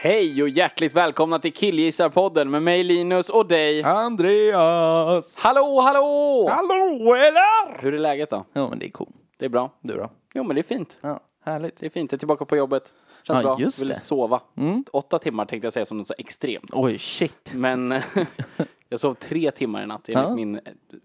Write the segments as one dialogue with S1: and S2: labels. S1: Hej och hjärtligt välkomna till Killgissarpodden med mig Linus och dig.
S2: Andreas!
S1: Hallå, hallå!
S2: Hallå eller?
S1: Hur är läget då?
S2: Ja men det är cool.
S1: Det är bra.
S2: Du då?
S1: Jo men det är fint.
S2: Ja, härligt.
S1: Det är fint, jag är tillbaka på jobbet. Känns
S2: Ja,
S1: bra.
S2: just
S1: Ville
S2: det.
S1: sova. Åtta timmar tänkte jag säga som något så extremt.
S2: Oj shit.
S1: Men jag sov tre timmar i natt enligt min eh,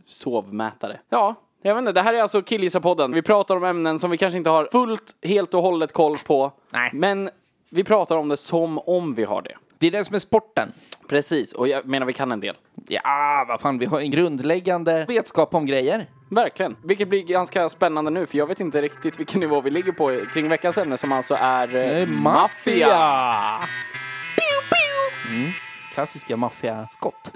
S1: sovmätare. Ja, jag vet inte. Det här är alltså Killgissarpodden. Vi pratar om ämnen som vi kanske inte har fullt, helt och hållet koll på.
S2: Nej.
S1: Men vi pratar om det som om vi har det.
S2: Det är det som är sporten.
S1: Precis, och jag menar vi kan en del.
S2: Ja, vad fan, vi har en grundläggande vetskap om grejer.
S1: Verkligen. Vilket blir ganska spännande nu, för jag vet inte riktigt vilken nivå vi ligger på i- kring veckans ämne som alltså är... eh,
S2: Eh,
S1: maffia.
S2: Klassiska maffiaskott.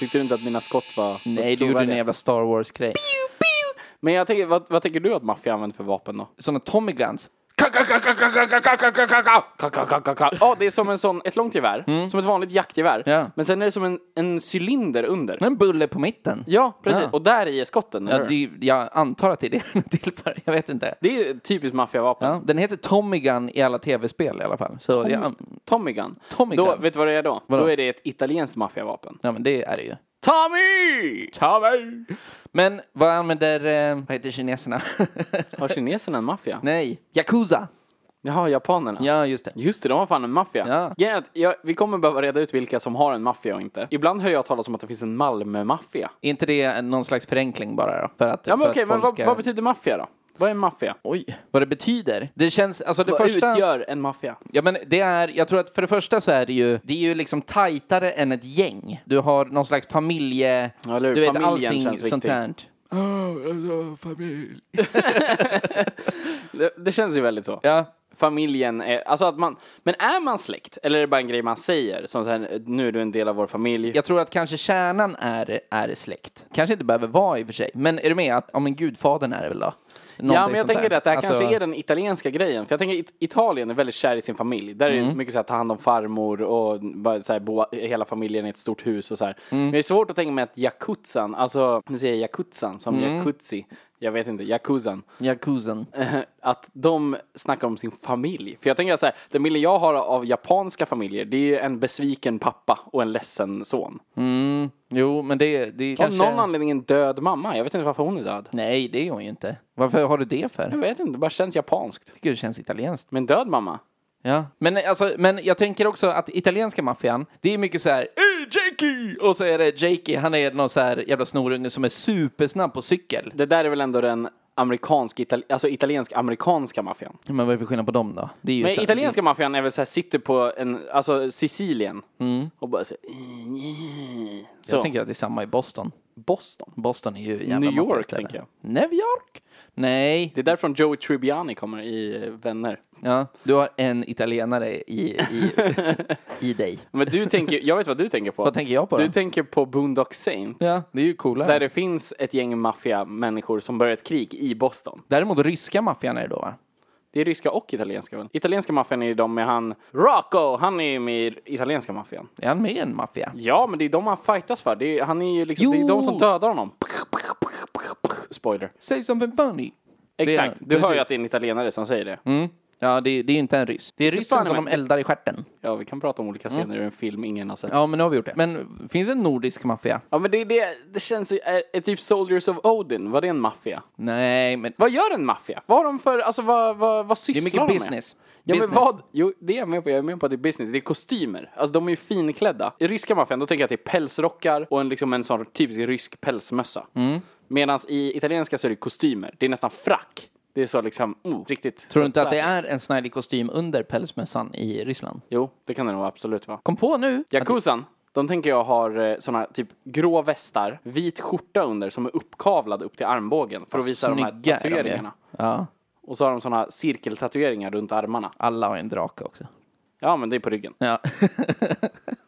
S1: Tyckte du inte att mina skott var...
S2: Nej, du gjorde en jävla Star Wars-grej.
S1: Men jag tänker, vad, vad tänker du att maffia använder för vapen då?
S2: Såna Tommy Guns.
S1: Ja, det är som en sån, ett långt gevär. Som ett vanligt jaktgevär.
S2: Mm. Ja.
S1: Men sen är det som en, en cylinder under.
S2: En bulle på mitten.
S1: Ja, precis.
S2: Ja.
S1: Och där i är skotten,
S2: Ja,
S1: eller
S2: det,
S1: hur?
S2: är ju- jag antar att det är det den är till för. Jag vet inte.
S1: Det är typiskt maffiavapen.
S2: Ja, den heter Tommy Gun i alla tv-spel i alla fall. Så jag,
S1: Tommy Gun.
S2: Tommy
S1: då,
S2: Gun.
S1: Vet du vad det är då?
S2: Vadå?
S1: Då är det ett italienskt maffiavapen.
S2: ja, men det är det ju.
S1: Tommy! Tommy!
S2: Men vad använder, eh, vad heter kineserna?
S1: Har kineserna en maffia?
S2: Nej, Yakuza!
S1: Jaha, japanerna.
S2: Ja, just det.
S1: Just det, de har fan en maffia.
S2: Ja.
S1: Grejen är att jag, vi kommer behöva reda ut vilka som har en maffia och inte. Ibland hör jag talas om att det finns en Malmö-maffia.
S2: Är inte det någon slags förenkling bara då? För att,
S1: Ja men
S2: för
S1: okej,
S2: att
S1: men
S2: folk
S1: vad,
S2: ska-
S1: vad betyder maffia då? Vad är en maffia?
S2: Oj, vad det betyder? Det känns, alltså det
S1: Vad
S2: första...
S1: utgör en maffia?
S2: Ja men det är, jag tror att för det första så är det ju, det är ju liksom tajtare än ett gäng. Du har någon slags familje...
S1: Ja, eller hur?
S2: du vet
S1: Familjen
S2: allting
S1: känns
S2: sånt
S1: viktig.
S2: här.
S1: Det, det känns ju väldigt så.
S2: Ja,
S1: Familjen är, alltså att man, men är man släkt? Eller är det bara en grej man säger? Som så här, nu är du en del av vår familj.
S2: jag tror att kanske kärnan är, är släkt. Kanske inte behöver vara i och för sig, men är du med? Att, ja men gudfadern är det väl då?
S1: Ja,
S2: Någonting
S1: men jag
S2: sånt
S1: tänker
S2: där.
S1: det att det här
S2: Alltså-
S1: kanske är den italienska grejen. För jag tänker it- Italien är väldigt kär i sin familj. Där
S2: Mm.
S1: är det mycket så här, ta hand om farmor och bara så här, bo hela familjen i ett stort hus och så här.
S2: Mm.
S1: Men det är svårt att tänka mig att jakuzan, alltså nu säger jag jakuzan som
S2: Mm.
S1: jacuzzi, jag vet inte, jakuzan,
S2: Yakuzan.
S1: att de snackar om sin familj. För jag tänker så här, den bilden jag har av japanska familjer, det är ju en besviken pappa och en ledsen son.
S2: Jo, men det, det är
S1: Av
S2: kanske...
S1: någon anledning en död mamma, jag vet inte varför hon är död.
S2: Nej, det är hon ju inte. Varför har du det för?
S1: Jag
S2: Jag
S1: vet inte, det bara känns japanskt.
S2: tycker det känns italienskt.
S1: Men död mamma?
S2: Ja. Men, alltså, men jag tänker också att italienska maffian, det är mycket så här "Ey, Jakey! Och så är det Jakey, han är någon så här jävla snorunge som är supersnabb på cykel.
S1: Det där är väl ändå den amerikansk, itali alltså italiensk-amerikanska maffian.
S2: Men vad är det för skillnad på dem då? Det är ju
S1: Men
S2: så här-
S1: italienska maffian är väl så här, sitter på en, alltså Sicilien och bara så, så.
S2: Mm. Jag tänker att det är samma i Boston.
S1: Boston.
S2: Boston är ju jävla
S1: New York,
S2: maffiaställe.
S1: tänker jag.
S2: New York? Nej.
S1: Det är därifrån Joey Tribbiani kommer i eh, Vänner.
S2: Ja, du har en italienare i, i, i dig.
S1: Men du tänker, jag vet vad du tänker på.
S2: Vad tänker jag på
S1: Du
S2: då?
S1: tänker på Boondock Saints.
S2: Ja, det är ju coolare.
S1: Där det finns ett gäng maffiamänniskor som börjar ett krig i Boston.
S2: Däremot ryska maffian är det då va?
S1: Det är ryska och italienska väl? Italienska maffian är ju de med han Rocco, han är ju med i italienska maffian.
S2: Är han med i en maffia?
S1: Ja, men det är de han fightas för. Det är, han är ju liksom, det är
S2: Jo.
S1: de som dödar honom. Spoiler.
S2: Say something funny.
S1: Exakt.
S2: Det är-
S1: Du hör ju
S2: precis. Mm.
S1: att det är en italienare som säger det.
S2: Ja, det, det är inte en ryss. Det är ryssen
S1: fan
S2: som
S1: är
S2: de
S1: man-
S2: eldar i stjärten.
S1: Ja, vi kan prata om olika scener ur en film ingen har sett. Ja,
S2: Mm. Ja, men nu har vi gjort det. Men finns det en nordisk maffia?
S1: men det, är det, det känns ju... Är, är typ Soldiers of Odin, var det en maffia?
S2: Nej, men
S1: Vad gör en maffia? Vad har de för... Alltså vad, vad, vad
S2: det är
S1: sysslar
S2: mycket
S1: de
S2: business.
S1: med? Ja,
S2: business.
S1: men vad? Jo, det är jag med på. Jag är med på att det är business. Det är kostymer. Alltså de är ju finklädda. I ryska maffian, då tänker jag att det är pälsrockar och en, liksom, en
S2: Mm.
S1: sån typisk rysk pälsmössa. Medan i italienska så är det kostymer. Det är nästan frack. Det är så liksom, oh, riktigt.
S2: Tror du inte att det är en Snidey-kostym under pälsmössan i Ryssland?
S1: Jo, det kan det nog absolut vara.
S2: Kom på nu! att-
S1: Yakuzan, de tänker jag har eh, såna typ grå västar, vit skjorta under som är uppkavlad upp till armbågen för att visa de här
S2: snygga är de ju.
S1: tatueringarna.
S2: Ja,
S1: Och så har de såna cirkeltatueringar runt armarna.
S2: alla har en drake också.
S1: Ja, men det är på ryggen.
S2: Ja,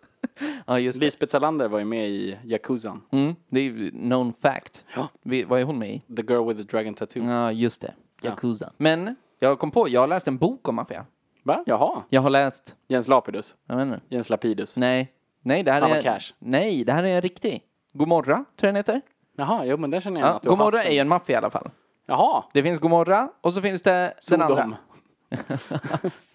S2: ja just det.
S1: Lisbeth Salander var ju med i Yakuzan.
S2: Mm, det är ju known fact.
S1: Ja.
S2: Vi, vad är hon med i?
S1: The Girl with the Dragon Tattoo.
S2: Ja, just det. Yakuza. Men jag kom på, jag har läst en bok om maffia.
S1: Va? Jaha.
S2: Jag har läst,
S1: Jens Lapidus.
S2: jag vet inte.
S1: Jens Lapidus.
S2: Nej, nej det här
S1: Snabba
S2: är...
S1: Cash.
S2: Nej, det här är en riktig. Godmorra, tror jag den heter.
S1: Jaha, jo men där känner jag
S2: Ja,
S1: att du har
S2: Godmorra
S1: haft
S2: är
S1: den.
S2: ju en maffia i alla fall.
S1: Jaha.
S2: Det finns Godmorra och så finns det den
S1: Sodom.
S2: andra.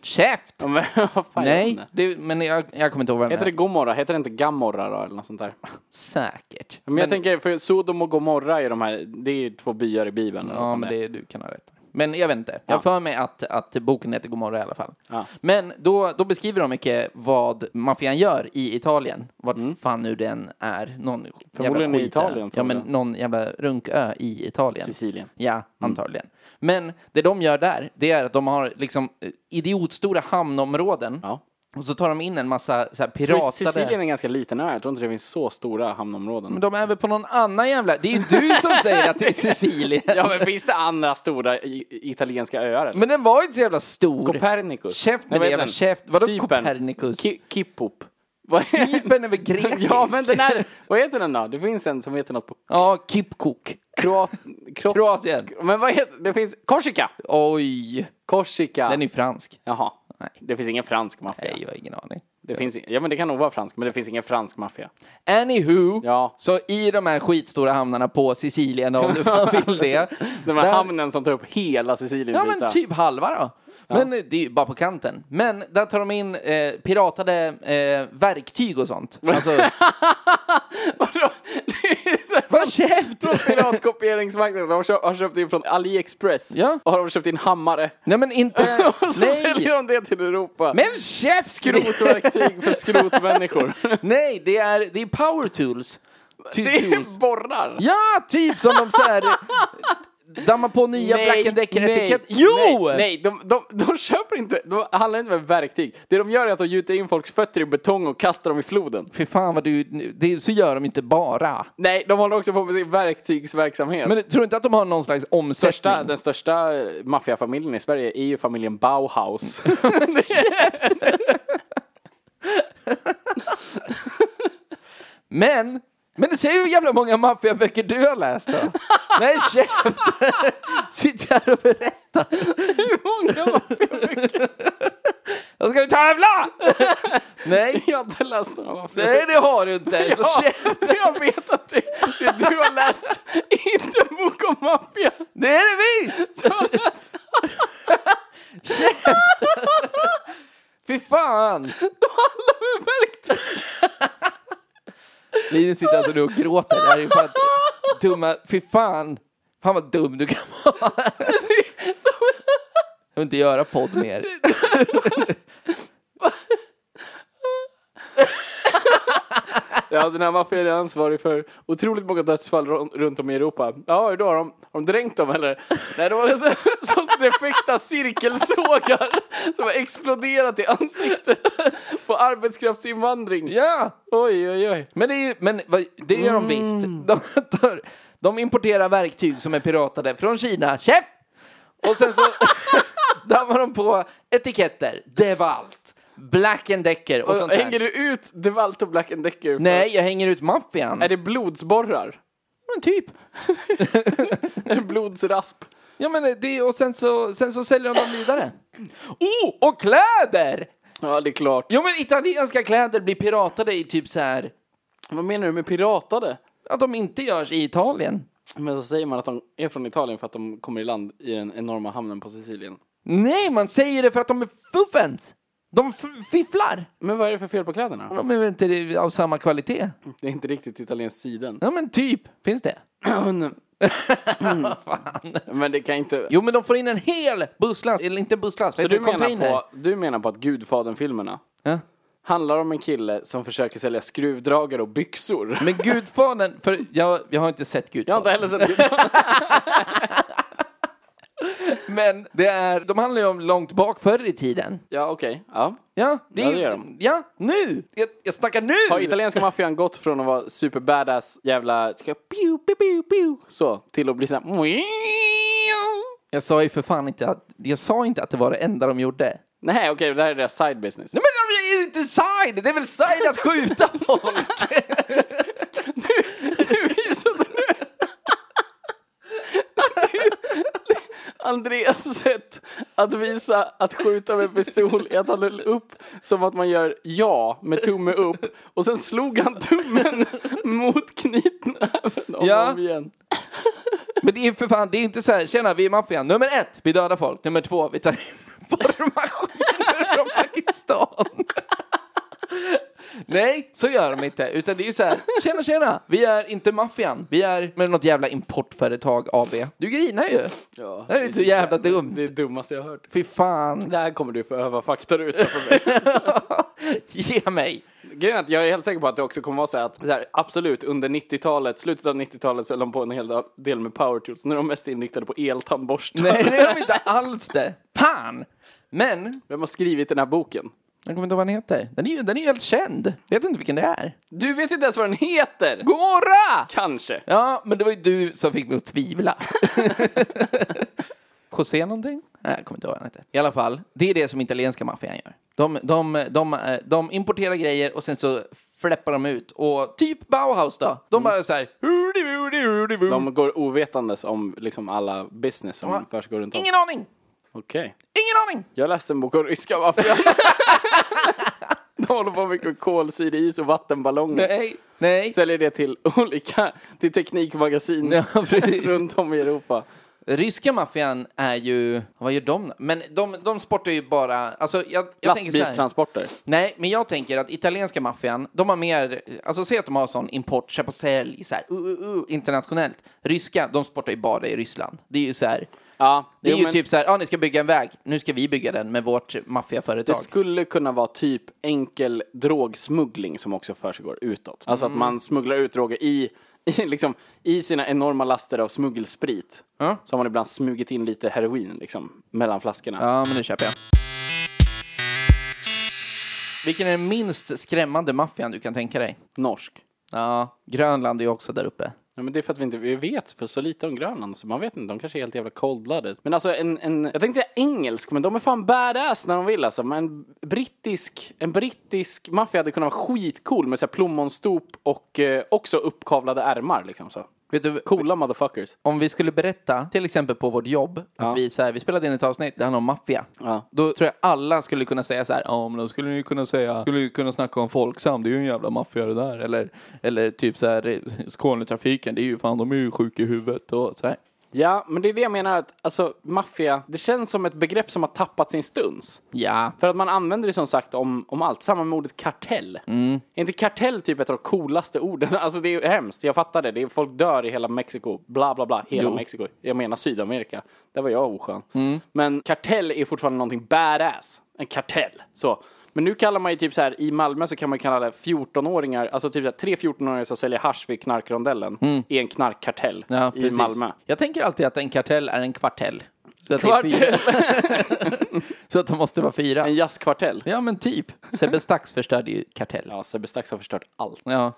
S2: Käft!
S1: Ja, men vad fan gör de
S2: Nej,
S1: det?
S2: det, men jag, jag kommer inte ihåg vad den
S1: Heter det
S2: heter.
S1: Gomorra? Heter det inte Gamorra då, eller något sånt där?
S2: Säkert.
S1: Men, jag tänker, för Sodom och Gomorra är de här, det är ju två byar i Bibeln. eller vad
S2: Ja,
S1: fan
S2: men
S1: är.
S2: det, du kan ha rätt. Men jag vet inte. Jag har för mig att, att boken heter Gomorra i alla fall.
S1: Ja.
S2: Men då, då beskriver de mycket vad maffian gör i Italien. Vad fan nu den är. Någon
S1: Mm. Förmodligen i
S2: jävla skitö.
S1: Italien,
S2: Ja, men
S1: förmodligen.
S2: någon jävla runkö i Italien.
S1: Sicilien.
S2: Ja, antagligen. Men det de gör där, det är att de har liksom eh, idiotstora hamnområden.
S1: Ja.
S2: Och så tar de in en massa så här,
S1: Jag tror
S2: piratade...
S1: Sicilien är en ganska liten ö, jag tror inte det finns så stora hamnområden.
S2: Men de är väl på någon annan jävla... Det är ju du som säger att det är Sicilien.
S1: Ja, men finns det andra stora i, italienska öar? Eller?
S2: Men den var ju inte så jävla stor.
S1: Copernicus.
S2: Käft med
S1: Nej, vad
S2: det
S1: heter
S2: jävla
S1: den?
S2: käft. Vadå
S1: Cypern.
S2: Copernicus?
S1: Ki- Kippop. Vad-
S2: Cypern är väl grekisk?
S1: Ja, men den här, vad heter den då? Det finns en som heter något på
S2: Ja, Kipkok.
S1: kroat... kroat-
S2: Kroatien.
S1: Men vad heter, det finns Korsika!
S2: Oj,
S1: Korsika.
S2: den är fransk.
S1: Jaha.
S2: Nej.
S1: Det finns ingen fransk maffia.
S2: Nej, jag har ingen aning.
S1: Det finns, in- ja men det kan nog vara fransk, men det finns ingen fransk maffia.
S2: Anywho,
S1: Ja.
S2: så i de här skitstora hamnarna på Sicilien om du bara vill det.
S1: Den här
S2: Där-
S1: hamnen som tar upp hela Siciliens
S2: Ja,
S1: yta.
S2: men typ halva då. Men eh, det är ju bara på kanten. Men där tar de in eh, piratade eh, verktyg och sånt. Alltså,
S1: Vadå? Det är så här-
S2: vad käft!
S1: Från Piratkopieringsmarknaden. De har köpt, har köpt in från AliExpress.
S2: Ja.
S1: Och har de köpt in hammare.
S2: Nej men inte...
S1: Och så säljer
S2: Nej!
S1: de det till Europa.
S2: Men käft!
S1: Skrotverktyg för skrotmänniskor.
S2: Nej, det är, det är power tools. Ty-
S1: Det
S2: tools.
S1: är borrar.
S2: Ja, typ som de så här eh, dammar på nya Black and Decker-etikett. Jo!
S1: Nej, nej de, de, de köper inte, de handlar inte med verktyg. Det de gör är att de gjuter in folks fötter i betong och kastar dem i floden.
S2: Fy fan vad du, det, så gör de inte bara.
S1: Nej, de håller också på med sin verktygsverksamhet.
S2: Men tror du inte att de har någon slags omsättning?
S1: största, den största eh, maffiafamiljen i Sverige är ju familjen Bauhaus.
S2: Men, men det säger ju hur jävla många maffiaböcker du har läst då. Nej, käft! Sitt här och berätta.
S1: Hur många maffiaböcker?
S2: Då ska vi tävla! Nej,
S1: Jag har inte läst några maffiaböcker.
S2: nej det har du inte. Så
S1: Ja,
S2: käft!
S1: jag vet att det, det du har läst är inte en bok om maffia.
S2: Det är det visst!
S1: Du har läst
S2: Fy fan!
S1: alla med verktyg.
S2: Linus sitter alltså nu och gråter. Det här är ju fan dumma... Fy fan! Fan vad dum du kan vara. Jag vill inte göra podd mer.
S1: Ja, den här maffian är ansvarig för otroligt många dödsfall ru- runt om i Europa. Ja, hur då? Har de, har de dränkt dem eller? Nej, det var liksom sånt defekta cirkelsågar som har exploderat i ansiktet på arbetskraftsinvandring.
S2: Ja!
S1: Oj, oj, oj.
S2: Men det, är, ju- men vad- det gör de visst.
S1: Mm.
S2: De, tar, de importerar verktyg som är piratade från Kina. Käft! Och sen så dammar de på etiketter. Det var allt. Black and Decker och sånt
S1: Hänger
S2: där.
S1: du ut DeWalt och Black and Decker? för-
S2: Nej, jag hänger ut maffian.
S1: Är det blodsborrar?
S2: Men typ.
S1: Är det blodsrasp?
S2: Ja, men det, och sen så, sen så säljer de dem vidare. Oh, och kläder!
S1: Ja, det är klart.
S2: Jo, men italienska kläder blir piratade i typ så här...
S1: Vad menar du med piratade?
S2: Att de inte görs i Italien.
S1: Men så säger man att de är från Italien för att de kommer i land i den enorma hamnen på Sicilien.
S2: Nej, man säger det för att de är fuffens. De f- fifflar.
S1: Men vad är det för fel på kläderna?
S2: De är väl inte av samma kvalitet?
S1: Det är inte riktigt italienskt siden.
S2: Ja, men typ. Finns det?
S1: Men det kan inte...
S2: Jo, men de får in en hel busslast. Eller inte busslast,
S1: så
S2: men
S1: du
S2: en
S1: menar,
S2: container.
S1: på, du menar på att Gudfadern-filmerna
S2: Ja.
S1: handlar om en kille som försöker sälja skruvdragare och byxor?
S2: Men Gudfadern, för jag, jag har inte sett
S1: Jag har
S2: Gudfadern.
S1: inte heller sett Gudfadern.
S2: Men det är, de handlar ju om långt bak förr i tiden.
S1: Ja, okej. Ja.
S2: Ja, det,
S1: Ja,
S2: är-
S1: det gör de.
S2: Ja, nu! Jag, jag snackar nu!
S1: Har italienska maffian gått från att vara superbadass jävla ska- pew, pew, pew, pew, så till att bli så här...
S2: Jag sa ju för fan inte att, jag sa inte att det var det enda de gjorde.
S1: Nej, okej, det här är deras side business.
S2: Nej men det är ju inte side! Det är väl side att skjuta folk!
S1: Du visade nu. Andreas sätt att visa att skjuta med pistol är att han höll upp som att man gör ja med tumme upp och sen slog han tummen mot knytnäven om
S2: Ja.
S1: och om igen.
S2: men det är ju för fan, det är ju inte så här, tjena vi är maffian. Nummer ett, vi dödar folk. Nummer två, vi tar in borrmaskiner från Pakistan. Nej, så gör de inte. Utan det är ju så här, tjena tjena, vi är inte maffian. Vi är med något jävla importföretag AB. Du grinar ju.
S1: Ja,
S2: Det här är så jävla dumt.
S1: Det är det dummaste jag har hört.
S2: Fy fan,
S1: Det här kommer du få öva faktaruta för mig.
S2: ge mig.
S1: Grejen är att jag är helt säker på att det också kommer vara så här att så här, absolut under 90-talet, slutet av 90-talet så höll de på en hel del med power tools. Nu är de mest inriktade på eltandborstar.
S2: Nej, det är de inte alls det. Fan! Men,
S1: Vem har skrivit den här boken?
S2: jag kommer inte ihåg vad den heter. Den är ju den är ju helt känd. Vet inte vilken det är.
S1: Du vet inte ens vad den heter!
S2: Gomorra!
S1: Kanske.
S2: Ja, men det var ju du som fick mig att tvivla. José någonting? Nej, jag kommer inte ihåg vad han heter. I alla fall, det är det som italienska maffian gör. De, de, de, eh, de importerar grejer och sen så fläppar de ut. Och typ Bauhaus då. De bara så här... "Hurdi, hurdi, hurdi, hurdi."
S1: De går ovetandes om liksom alla business som
S2: Ja.
S1: försiggår runt om.
S2: Ingen aning!
S1: Okej.
S2: Ingen aning!
S1: Jag läste en bok om ryska maffian. De håller på mycket med kolsyreis och vattenballonger.
S2: Nej, nej.
S1: Säljer det till olika, till teknikmagasin
S2: Ja, precis.
S1: runt om i Europa.
S2: Ryska maffian är ju... Vad gör de? Men de, de sportar ju bara... Alltså, jag, jag tänker så här.
S1: Lastbilstransporter.
S2: Nej, men jag tänker att italienska maffian, de har mer... Alltså, se att de har sån import, köp och sälj, så här, uh, uh, uh, internationellt. Ryska, de sportar ju bara i Ryssland. Det är ju så här...
S1: Ja,
S2: Det är
S1: jo,
S2: ju
S1: men-
S2: typ så här, ah, ni ska bygga en väg, nu ska vi bygga den med vårt maffiaföretag.
S1: Det skulle kunna vara typ enkel drogsmuggling som också försiggår utåt. Alltså att man smugglar ut droger i, i, liksom, i sina enorma laster av smuggelsprit.
S2: Ja.
S1: Så har man ibland smugit in lite heroin liksom, mellan flaskorna.
S2: Ja, men nu köper jag. Vilken är den minst skrämmande maffian du kan tänka dig?
S1: Norsk.
S2: Ja, Grönland är ju också där uppe.
S1: Ja, men det är för att vi inte vi vet för så lite om Grönland, så man vet inte. De kanske är helt jävla cold-blooded. Men alltså en, en, jag tänkte säga engelsk, men de är fan badass när de vill alltså. Men en brittisk, en brittisk maffia hade kunnat vara skitcool med så här plommonstop och eh, också uppkavlade ärmar liksom så.
S2: Vet du,
S1: Coola motherfuckers.
S2: om vi skulle berätta, till exempel på vårt jobb, att vi, så här, vi spelade in ett avsnitt, det handlar om maffia.
S1: Ja.
S2: Då tror jag alla skulle kunna säga så här, ja men då skulle ni ju kunna säga, skulle ju kunna snacka om Folksam, det är ju en jävla maffia det där. Eller, eller typ så här, Skånetrafiken, det är ju fan, de är ju sjuka i huvudet och så här.
S1: Ja, men det är det jag menar att alltså maffia, det känns som ett begrepp som har tappat sin stuns.
S2: Ja.
S1: För att man använder det som sagt om, om allt, samma med ordet kartell.
S2: Mm.
S1: Är inte kartell typ ett av de coolaste orden? Alltså det är ju hemskt, jag fattar det. det är, folk dör i hela Mexiko, bla bla bla, hela Mexiko. Jag menar Sydamerika, där var jag oskön.
S2: Mm.
S1: Men kartell är fortfarande någonting badass, en kartell. Så. Men nu kallar man ju typ så här, i Malmö så kan man ju kalla det 14-åringar, alltså typ så här, tre 14-åringar som säljer hasch vid knarkrondellen, är en knarkkartell
S2: Mm. ja
S1: i
S2: precis.
S1: Malmö.
S2: Jag tänker alltid att en kartell är en kvartell. Så att det är
S1: Kvartell.
S2: fyra. så att de måste vara fyra.
S1: En jazzkvartell.
S2: Ja men typ. Sebbe Stax förstörde ju kartell.
S1: Ja, Sebbe Stax har förstört allt.
S2: Ja.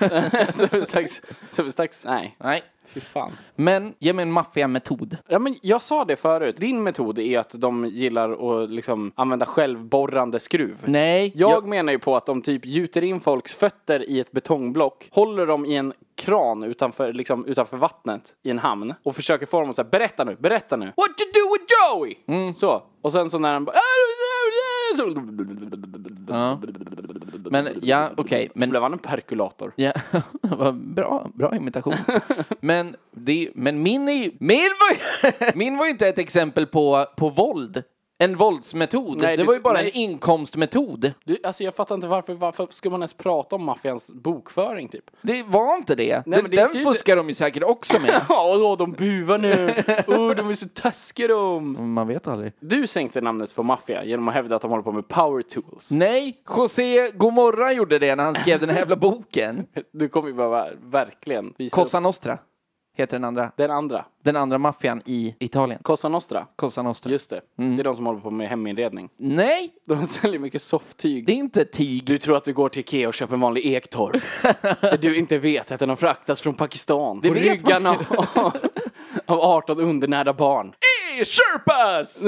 S1: Sebbe Stax, Sebbe Stax, nej.
S2: Nej.
S1: Fy fan.
S2: Men ge mig en maffiametod.
S1: Ja, men jag sa det förut. Din metod är att de gillar att liksom använda självborrande skruv.
S2: Nej.
S1: Jag, menar ju på att de typ gjuter in folks fötter i ett betongblock, håller dem i en kran utanför, liksom, utanför vattnet i en hamn och försöker få dem att säga berätta nu, berätta nu. What you do with Joey?
S2: Mm.
S1: Så. Och sen så när han bara... "Ah, Så,
S2: Men ja, okej.
S1: så
S2: Men
S1: blev han en perkulator.
S2: Ja, vad bra, bra imitation. Men, det, men min, är ju, min, var, ju- min var ju inte ett exempel på, på våld. En våldsmetod.
S1: Nej,
S2: det
S1: det-
S2: var ju bara
S1: nej.
S2: en inkomstmetod.
S1: Du, alltså jag fattar inte varför, varför skulle man ens prata om maffians bokföring typ?
S2: Det var inte det.
S1: Nej,
S2: det,
S1: men det är
S2: den
S1: tydligt-
S2: fuskar de ju säkert också med.
S1: Ja, då, de buvar nu. Oh, de är så taskiga de.
S2: Man vet aldrig.
S1: Du sänkte namnet på maffia genom att hävda att de håller på med power tools.
S2: Nej, José Gomorra gjorde det när han skrev den här jävla boken.
S1: Du kommer ju behöva verkligen visa upp.
S2: Cosa Nostra. heter den andra.
S1: Den andra,
S2: Den andra maffian i Italien.
S1: Cosa Nostra.
S2: Cosa Nostra.
S1: Just det. Det är de som håller på med heminredning.
S2: Nej,
S1: De säljer mycket softtyg.
S2: det är inte tyg.
S1: Du tror att du går till Ikea och köper en vanlig ektorp. det du inte vet är att den har fraktats från Pakistan. på
S2: vet
S1: ryggarna av, av 18 undernärda barn.
S2: Hey, Sherpas!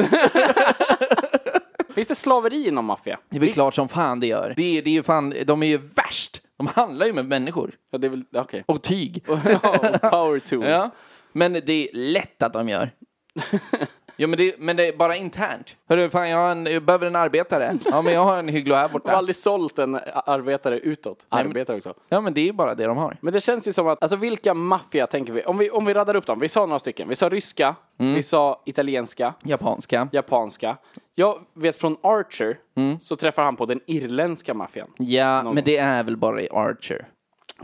S1: Finns det slaveri inom maffia?
S2: Det är väl klart som fan det gör. Det är, det är ju fan, de är ju värst. De handlar ju med människor.
S1: Ja, det är väl, okej.
S2: Och tyg.
S1: Ja, och Power tools.
S2: Ja. Men det är lätt att de gör. Jo, men det, men det är bara internt. Hörru, fan, jag, har en, jag behöver en arbetare. Ja, men jag har en hygglo här
S1: Jag har
S2: borta.
S1: aldrig sålt en arbetare utåt. Arbetare också.
S2: Ja, men det är ju bara det de har.
S1: Men det känns ju som att, alltså vilka maffia tänker vi? Om vi, om vi radar upp dem, vi sa några stycken. Vi sa ryska,
S2: Mm.
S1: vi sa italienska,
S2: Japanska.
S1: japanska. Jag vet från Archer så träffar han på den irländska maffian.
S2: Mm. Ja,
S1: Någon.
S2: men det är väl bara i Archer.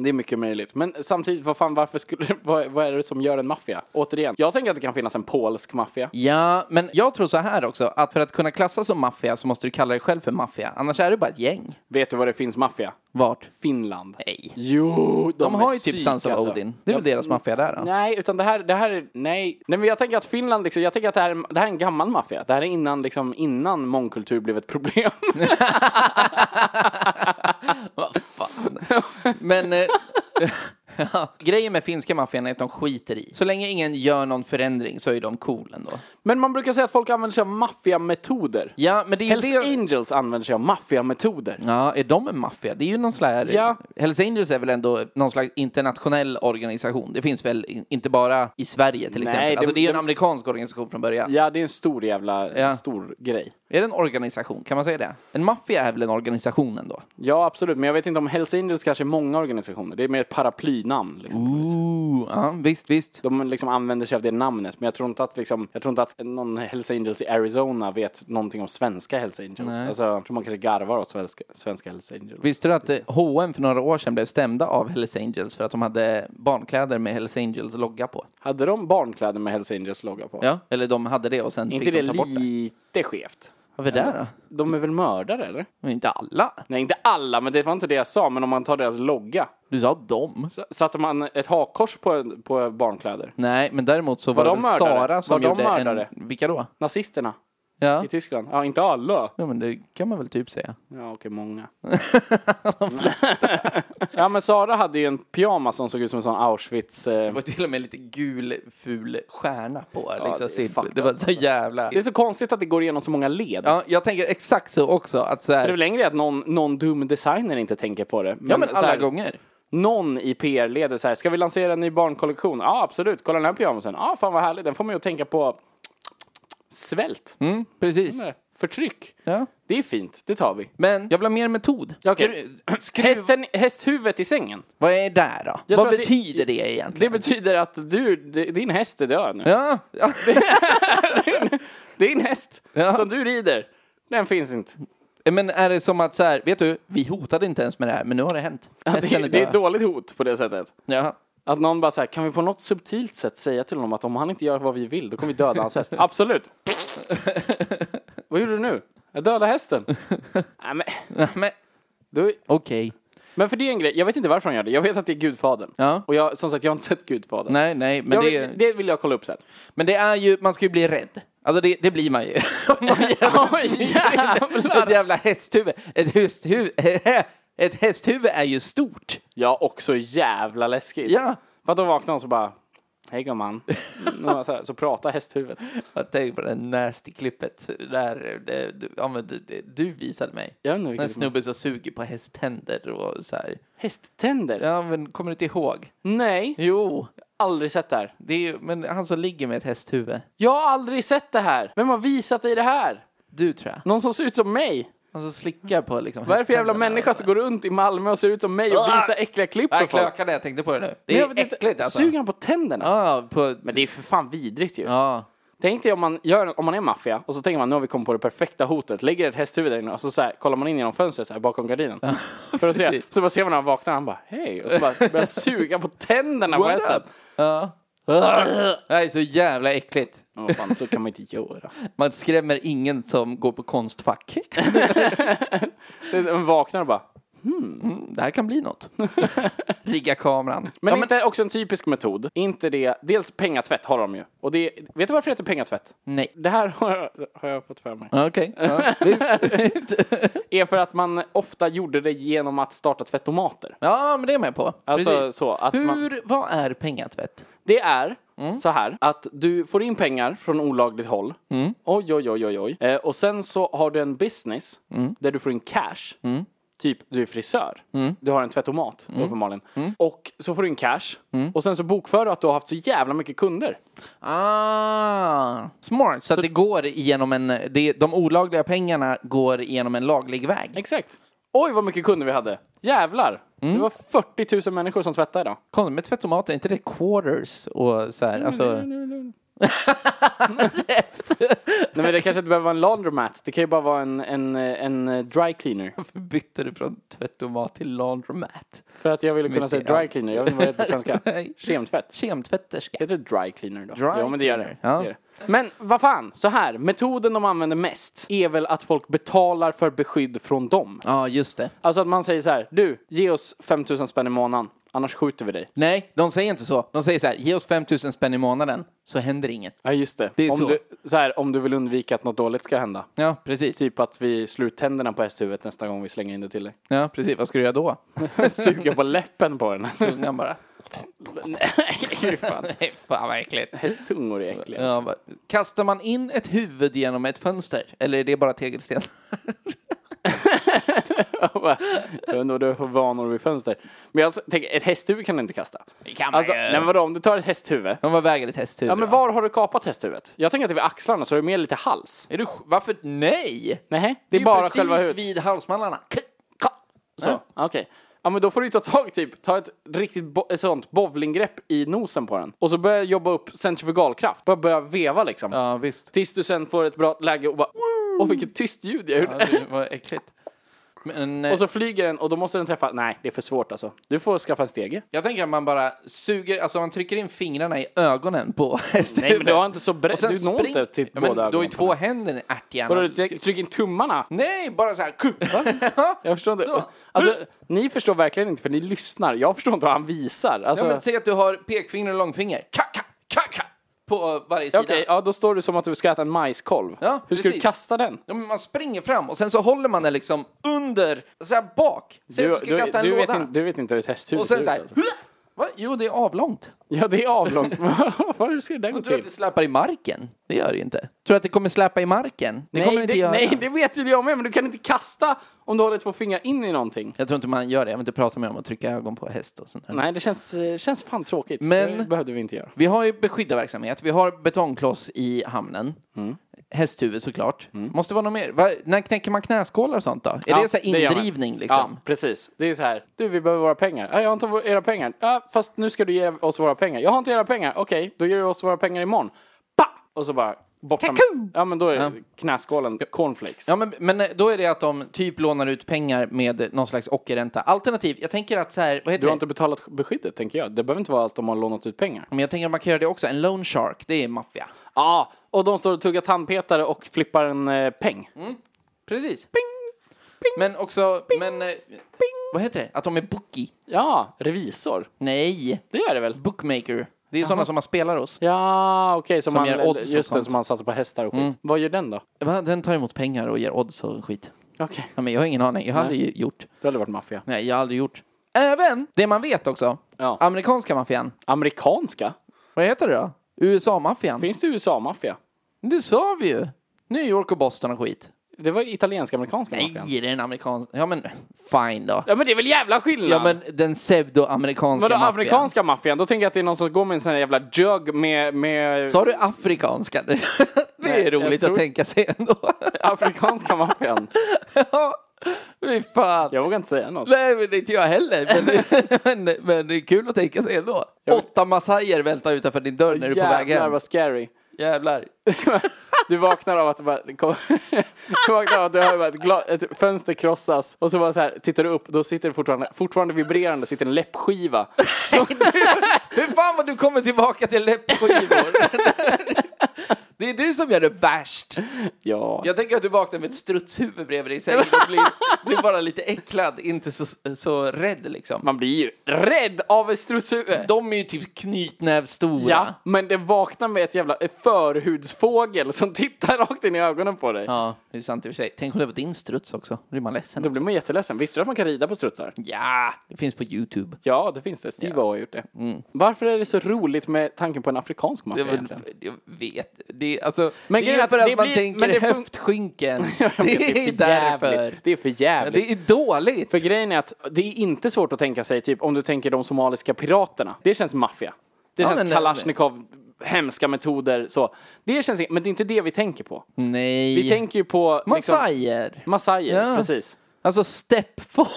S1: Det är mycket möjligt. Men samtidigt, vad fan, varför skulle, vad, vad är det som gör en maffia? Återigen, jag tänker att det kan finnas en polsk maffia.
S2: Ja, men jag tror så här också, att för att kunna klassas som maffia så måste du kalla dig själv för maffia. Annars är du bara ett gäng.
S1: Vet du vad det finns maffia?
S2: Vart?
S1: Finland.
S2: Nej.
S1: Jo, de,
S2: De
S1: är
S2: har ju
S1: psyk,
S2: typ Sons of
S1: alltså.
S2: Odin. Det är väl deras maffia där alltså. då?
S1: Nej, utan det här, det här är, nej. nej men jag tänker att Finland, liksom, jag tänker att det här, är- det här är en gammal maffia. Det här är innan, liksom, innan mångkultur blev ett problem.
S2: Vad fan. Men eh, ja, grejen med finska maffian är att de skiter i. Så länge ingen gör någon förändring så är de cool ändå.
S1: men man brukar säga att folk använder sig av maffiametoder.
S2: Ja, men det är ju
S1: Hells
S2: det...
S1: Angels använder sig av maffiametoder.
S2: Ja, är de en maffia? Det är ju någon slags...
S1: Ja.
S2: Hells Angels är väl ändå någon slags internationell organisation? Det finns väl in- inte bara i Sverige till
S1: Nej,
S2: exempel?
S1: de-
S2: Alltså det är ju en
S1: de-
S2: amerikansk organisation från början.
S1: Ja, det är en stor jävla,
S2: Ja.
S1: stor grej.
S2: Är det en organisation? Kan man säga det? En maffia är väl en organisation ändå?
S1: Ja, absolut. Men jag vet inte om Hells Angels kanske är många organisationer. Det är mer ett paraplynamn. Liksom. på något vis.
S2: Ooh, ja, visst, visst.
S1: De liksom använder sig av det namnet, men jag tror inte att, liksom, jag tror inte att någon Hells Angels i Arizona vet någonting om svenska Hells Angels. Alltså, jag tror man kanske garvar åt svenska, svenska Hells Angels.
S2: Visste du att eh, H&M för några år sedan blev stämda av Hells Angels för att de hade barnkläder med Hells Angels logga på?
S1: Hade de barnkläder med Hells Angels logga på?
S2: Ja. Eller de hade det och sen
S1: Är
S2: fick
S1: inte
S2: de
S1: det
S2: ta bort det.
S1: lite skevt?
S2: Varför det då?
S1: De är väl mördare eller?
S2: Men inte alla.
S1: Nej, inte alla, men det var inte det jag sa. Men om man tar deras logga.
S2: Du sa dem.
S1: S- Satte man ett hakkors på, på barnkläder?
S2: Nej, men däremot så var,
S1: de
S2: det väl
S1: mördare?
S2: Sara som
S1: Var de
S2: gjorde
S1: mördare?
S2: en... Vilka då?
S1: Nazisterna
S2: Ja.
S1: i Tyskland? Ja, inte alla.
S2: ja, men det kan man väl typ säga.
S1: Ja, okej, många. ja, men Sara hade ju en pyjamas som såg ut som en sån Auschwitz... Eh...
S2: Det var till och med lite gul, ful stjärna på
S1: det är
S2: Alexa Silva.
S1: fucked
S2: Det var så jävla...
S1: Det är så konstigt att det går igenom så många led.
S2: Ja, jag tänker exakt så också. Att så
S1: Det är
S2: här...
S1: väl längre att någon, någon dum designer inte tänker på det.
S2: Ja, men
S1: så
S2: alla
S1: här,
S2: gånger.
S1: Någon i PR-ledet så här, ska vi lansera en ny barnkollektion? Ja, absolut. Kolla den här pyjamasen. Ja, fan vad härlig. Den får mig att tänka på svält.
S2: Mm, precis.
S1: Förtryck.
S2: Ja.
S1: Det är fint. Det tar vi.
S2: Men jag vill ha mer metod.
S1: Okej.
S2: Skru- skruv-
S1: Hästen, hästhuvudet i sängen.
S2: Vad är det då? Vad
S1: Jag tror att det-
S2: betyder det, egentligen?
S1: Det betyder att du, d- din häst är död nu.
S2: Ja, ja.
S1: Din häst
S2: Ja.
S1: som du rider, den finns inte.
S2: men är det som att så här, vet du, vi hotade inte ens med det här, men nu har det hänt.
S1: Det är, det är ett dåligt hot på det sättet.
S2: ja.
S1: Att någon bara så här, kan vi på något subtilt sätt säga till honom att om han inte gör vad vi vill, då kommer vi döda hans häst. Absolut! vad gjorde du nu? Jag dödade hästen. Nej, men,
S2: Men
S1: då,
S2: okej.
S1: men för det är en grej, jag vet inte varför han gör det. Jag vet att det är Gudfadern.
S2: Ja.
S1: Och jag, som sagt, jag har inte sett Gudfadern.
S2: Nej, nej, men
S1: Jag
S2: det,
S1: vill, det vill jag kolla upp sen.
S2: men det är ju, man ska ju bli rädd. Alltså det, det blir man ju. Om man gör
S1: Oj,
S2: ett-
S1: jävlar.
S2: Ett jävla hästhuvud. Ett hästhuvud, ett hästhuvud är ju stort.
S1: Ja, också jävla läskigt.
S2: Ja.
S1: För att då vaknar hon så bara, hej gumman. Mm, Så, här, så pratar hästhuvudet.
S2: Jag tänker på det nasty klippet där eh, du, ja, men du, du visade mig.
S1: Jag vet inte
S2: Den
S1: vilket som-
S2: snubben som suger på hästtänder och så här.
S1: Hästtänder?
S2: Ja, men kommer du inte ihåg?
S1: Nej,
S2: Jo,
S1: aldrig sett det här.
S2: det är ju, men han som ligger med ett hästhuvud.
S1: Jag har aldrig sett det här. Vem har visat dig det här?
S2: Du tror jag.
S1: Någon som ser ut som mig?
S2: Han som slickar på liksom
S1: Vad är det för jävla människa som går runt i Malmö och ser ut som mig och
S2: Ah!
S1: visar äckliga klipp för
S2: Jag
S1: folk?
S2: klökade, jag tänkte på det nu.
S1: Men
S2: Det
S1: jag
S2: är
S1: vet inte,
S2: äckligt alltså.
S1: Suger han på tänderna?
S2: Ja, på...
S1: Men det är för fan vidrigt ju.
S2: Ja.
S1: Tänk dig om man, gör, om man är maffia och så tänker man nu har vi kommit på det perfekta hotet. Lägger ett hästhuvud där inne och så, så här, kollar man in genom fönstret så här, bakom gardinen. för att se.
S2: precis.
S1: Så bara ser man när han vaknar han bara hej och så bara börjar suga på tänderna på
S2: What
S1: hästen.
S2: up? Ja. Det här är så jävla äckligt.
S1: Men vad fan, så kan man inte göra.
S2: Man skrämmer ingen som går på konstfack.
S1: Man vaknar och bara
S2: Mm, det här kan bli något. Rigga kameran.
S1: Men,
S2: ja, men,
S1: inte också en typisk metod. Inte det. Dels pengatvätt har de ju. Och det, vet du varför det heter pengatvätt?
S2: nej.
S1: Det här har jag, har jag fått för mig.
S2: Okej. Ja, visst, visst.
S1: Är för att man ofta gjorde det genom att starta tvättomater.
S2: ja, men det är jag med på.
S1: Alltså
S2: Precis.
S1: så att man,
S2: Hur, vad är pengatvätt?
S1: Det är
S2: Mm.
S1: så här att du får in pengar från olagligt håll.
S2: Mm.
S1: Oj, oj, oj, oj, oj. Eh, och sen så har du en business
S2: Mm.
S1: där du får in cash. Typ, du är frisör. Du har en tvättomat,
S2: Mm.
S1: uppenbarligen. Och så får du in cash. Och sen så bokför du att du har haft så jävla mycket kunder.
S2: Ah, smart. Så, att det går genom en, det, de olagliga pengarna går genom en laglig väg.
S1: Exakt. Oj, vad mycket kunder vi hade. Jävlar.
S2: Mm.
S1: Det var 40 000 människor som tvättade idag.
S2: Kolla med tvättomater, är inte det quarters och så här? Alltså,
S1: Nej, men det kanske inte behöver vara en laundromat. Det kan ju bara vara en, en, en dry cleaner.
S2: bytte du från tvättomat till laundromat?
S1: För att jag ville kunna
S2: Mycket,
S1: säga
S2: ja.
S1: dry cleaner. Jag vet inte vad det heter på svenska.
S2: Nej.
S1: Kemtvätt.
S2: Kemtvätterska.
S1: Heter det dry cleaner då?
S2: Dry
S1: ja, men det gör det.
S2: cleaner, ja.
S1: det, gör det. Men vad fan, så här. Metoden de använder mest är väl att folk betalar för beskydd från dem.
S2: Ja, just det.
S1: Alltså att man säger så här, du, ge oss 5000 spänn i månaden, annars skjuter vi dig.
S2: Nej, de säger inte så. De säger så här, ge oss 5 000 spänn i månaden så händer inget.
S1: Ja, just det.
S2: är
S1: om,
S2: så.
S1: Du, så här, om du vill undvika att något dåligt ska hända.
S2: Ja, precis.
S1: Typ att vi slår ut tänderna på hästhuvudet nästa gång vi slänger in det till dig.
S2: Ja, precis. Vad ska du göra då?
S1: Suga på läppen på den.
S2: Tungan bara.
S1: Nej, fy fan.
S2: Nej, fan vad äckligt.
S1: Hästtungor är äckliga.
S2: Ja, va- kastar man in ett huvud genom ett fönster? Eller är det bara tegelsten?
S1: Jag undrar vad du har för vanor vid fönster. Men jag tänker, ett hästhuvud kan du inte kasta.
S2: Det kan
S1: Alltså, nej men vadå, om du tar ett hästhuvud.
S2: Men vad väger ett hästhuvud?
S1: Ja men
S2: då?
S1: var har du kapat hästhuvudet? Jag tänker att det är vid axlarna så det är mer lite hals.
S2: Är du, sj- varför? Nej!
S1: Nej, det är,
S2: ju
S1: bara
S2: precis
S1: själva huvudet.
S2: vid halsmandlarna. K-
S1: Så, okej. Ja men då får du ju ta tag typ, ta ett riktigt bo- ett sånt bowlinggrepp i nosen på den. Och så börja jobba upp centrifugalkraft. Bara börja veva liksom.
S2: Ja, visst.
S1: Tills du sen får ett bra läge och bara Åh vilket tyst ljud jag gjorde.
S2: Ja, det var äckligt. Men, eh,
S1: Och så flyger den och då måste den träffa, nej det är för svårt alltså. Du får skaffa en stege.
S2: Jag tänker att man bara suger, alltså man trycker in fingrarna i ögonen på hästhuvudet.
S1: Nej men du har inte så brett,
S2: Sen
S1: du når
S2: spring-
S1: inte till
S2: ja, men
S1: båda
S2: Då är
S1: ögonen.
S2: två händer ärthjärnan.
S1: Vadå, du tryck- trycker in tummarna?
S2: Nej, bara så här. ku-
S1: Jag förstår inte.
S2: Så.
S1: Alltså, ni förstår verkligen inte för ni lyssnar. Jag förstår inte vad han visar. Alltså,
S2: Ja, men säg att du har pekfinger och långfinger. Kaka, kaka! På varje sida.
S1: Okej, ja, då står du som att du ska äta en majskolv.
S2: Ja,
S1: Hur ska du
S2: precis.
S1: kasta den?
S2: Ja, men man springer fram och sen så håller man den liksom under, så här bak. Säg att du ska kasta en
S1: du, vet
S2: låda.
S1: inte, du vet inte hur ett hästhus
S2: och sen så
S1: ser
S2: här.
S1: ut. Alltså.
S2: Va? Jo, det är avlångt.
S1: Ja, det är avlångt. Varför ska det där gå
S2: Tror du att
S1: till?
S2: det släpar i marken? Det gör det ju inte. Tror du att det kommer släpa i marken? Det kommer det
S1: nej,
S2: inte
S1: det,
S2: göra.
S1: nej, det vet ju jag med, men du kan inte kasta om du håller två fingrar in i någonting.
S2: Jag tror inte man gör det. Jag vill inte prata mer om att trycka ögon på häst och sånt där.
S1: Nej, det känns, eh, känns fan tråkigt.
S2: Men-
S1: Det behövde vi inte göra.
S2: Vi har ju beskyddarverksamhet. Vi har betongkloss i hamnen.
S1: Mm.
S2: Hästhuvud såklart. Måste vara något mer. Va? När knäcker man knäskålar och sånt då? Är
S1: Ja,
S2: det så här
S1: gör man.
S2: indrivning liksom?
S1: Ja, precis. Det är så här, du vi behöver våra pengar. Ja, jag har inte vå- era pengar. Ja, fast nu ska du ge oss våra pengar. Jag har inte era pengar. Okej, då ger du oss våra pengar imorgon. Pa! Och så bara bort med-
S2: Kaku!
S1: Ja, men då är det knäskålen cornflakes.
S2: Ja, men, men eh, då är det att de typ lånar ut pengar med någon slags ockerränta. Alternativt, jag tänker att så här, vad heter
S1: Du har
S2: det?
S1: inte betalat beskyddet, tänker jag. Det behöver inte vara att de har lånat ut pengar. Ja,
S2: Men jag tänker att man kan göra det också. En loan shark, det är maffia.
S1: och de står och tuggar tandpetare och flippar en eh, peng.
S2: Mm. Precis. Men också, men... eh, Vad heter det? Att de är bookie?
S1: Ja, revisor.
S2: Nej,
S1: Det gör det väl?
S2: bookmaker. Det är sådana som man spelar hos.
S1: Ja, okej. som man,
S2: ger odds och
S1: just det,
S2: sånt. Mm.
S1: som man satsar på hästar och skit. Vad gör den då?
S2: Va? Den tar emot pengar och ger odds och skit.
S1: Okej,
S2: Ja, men jag har ingen aning. Jag har aldrig gjort.
S1: det hade varit maffia.
S2: Nej, jag har aldrig gjort. Även det man vet också.
S1: Ja.
S2: Amerikanska maffian.
S1: Amerikanska?
S2: Vad heter det då? USA-maffian.
S1: Finns det USA-maffia?
S2: Det sa vi ju. New York och Boston och skit.
S1: Det var italiensk-amerikanska maffian.
S2: Nej, det är en amerikansk... Ja, men fine då.
S1: Ja men det är väl jävla skillnad!
S2: Ja, men den pseudo-amerikanska
S1: Vadå
S2: maffian.
S1: amerikanska maffian? Då tänker jag att det är någon som går med en sån här jävla jug med... med...
S2: Sa du afrikanska? Det
S1: Nej,
S2: är
S1: jag
S2: roligt
S1: tror-
S2: att tänka sig ändå.
S1: Afrikanska maffian.
S2: ja, fy fan.
S1: Jag vågar inte säga något.
S2: Nej, men det är inte jag heller. Men, men, men det är kul att tänka sig ändå. Åtta massajer väntar utanför din dörr när du är på väg
S1: Jävlar
S2: hem.
S1: vad scary.
S2: Jävlar.
S1: Du vaknar av att det bara, du vaknar av att du hör bara ett, gla, ett fönster krossas och så bara så här, tittar du upp, då sitter det fortfarande, fortfarande vibrerande, sitter en läppskiva. Så,
S2: Hur fan vad du kommer tillbaka till läppskivor. det Det är du som gör det värst.
S1: Ja.
S2: Jag tänker att du vaknar med ett strutshuvud bredvid dig i sängen och blir, blir bara lite äcklad, inte så, så rädd liksom.
S1: Man blir ju rädd av ett strutshuvud.
S2: De är ju typ knytnävstora.
S1: Ja, men det vaknar med ett jävla förhudsfågel som tittar rakt in i ögonen på dig.
S2: ja, det är sant i och för sig. Tänk om det var din struts också. Då blir man ledsen.
S1: Då blir man jätteledsen. Visste du att man kan rida på strutsar?
S2: Ja, det finns på YouTube.
S1: Ja, det finns det. Steve O har gjort det. Mm. Varför är det så roligt med tanken på en afrikansk maffia egentligen?
S2: Jag vet. Det är, alltså,
S1: Men
S2: det är
S1: grejen är
S2: ju
S1: att
S2: för
S1: det
S2: att man
S1: blir- men det
S2: tänker
S1: fun-
S2: höftskynken.
S1: Det är för jävligt. Det är för
S2: Ja,
S1: jävligt.
S2: Det är dåligt.
S1: För grejen är att det är inte svårt att tänka sig, typ om du tänker de somaliska piraterna. Det känns maffia. Det
S2: Ja,
S1: känns
S2: men-
S1: Kalashnikov, hemska metoder, så. Det känns, men det är inte det vi tänker på.
S2: Nej.
S1: Vi tänker liksom- ju på...
S2: Massajer.
S1: Massajer,
S2: Ja.
S1: precis.
S2: Alltså steppfolk.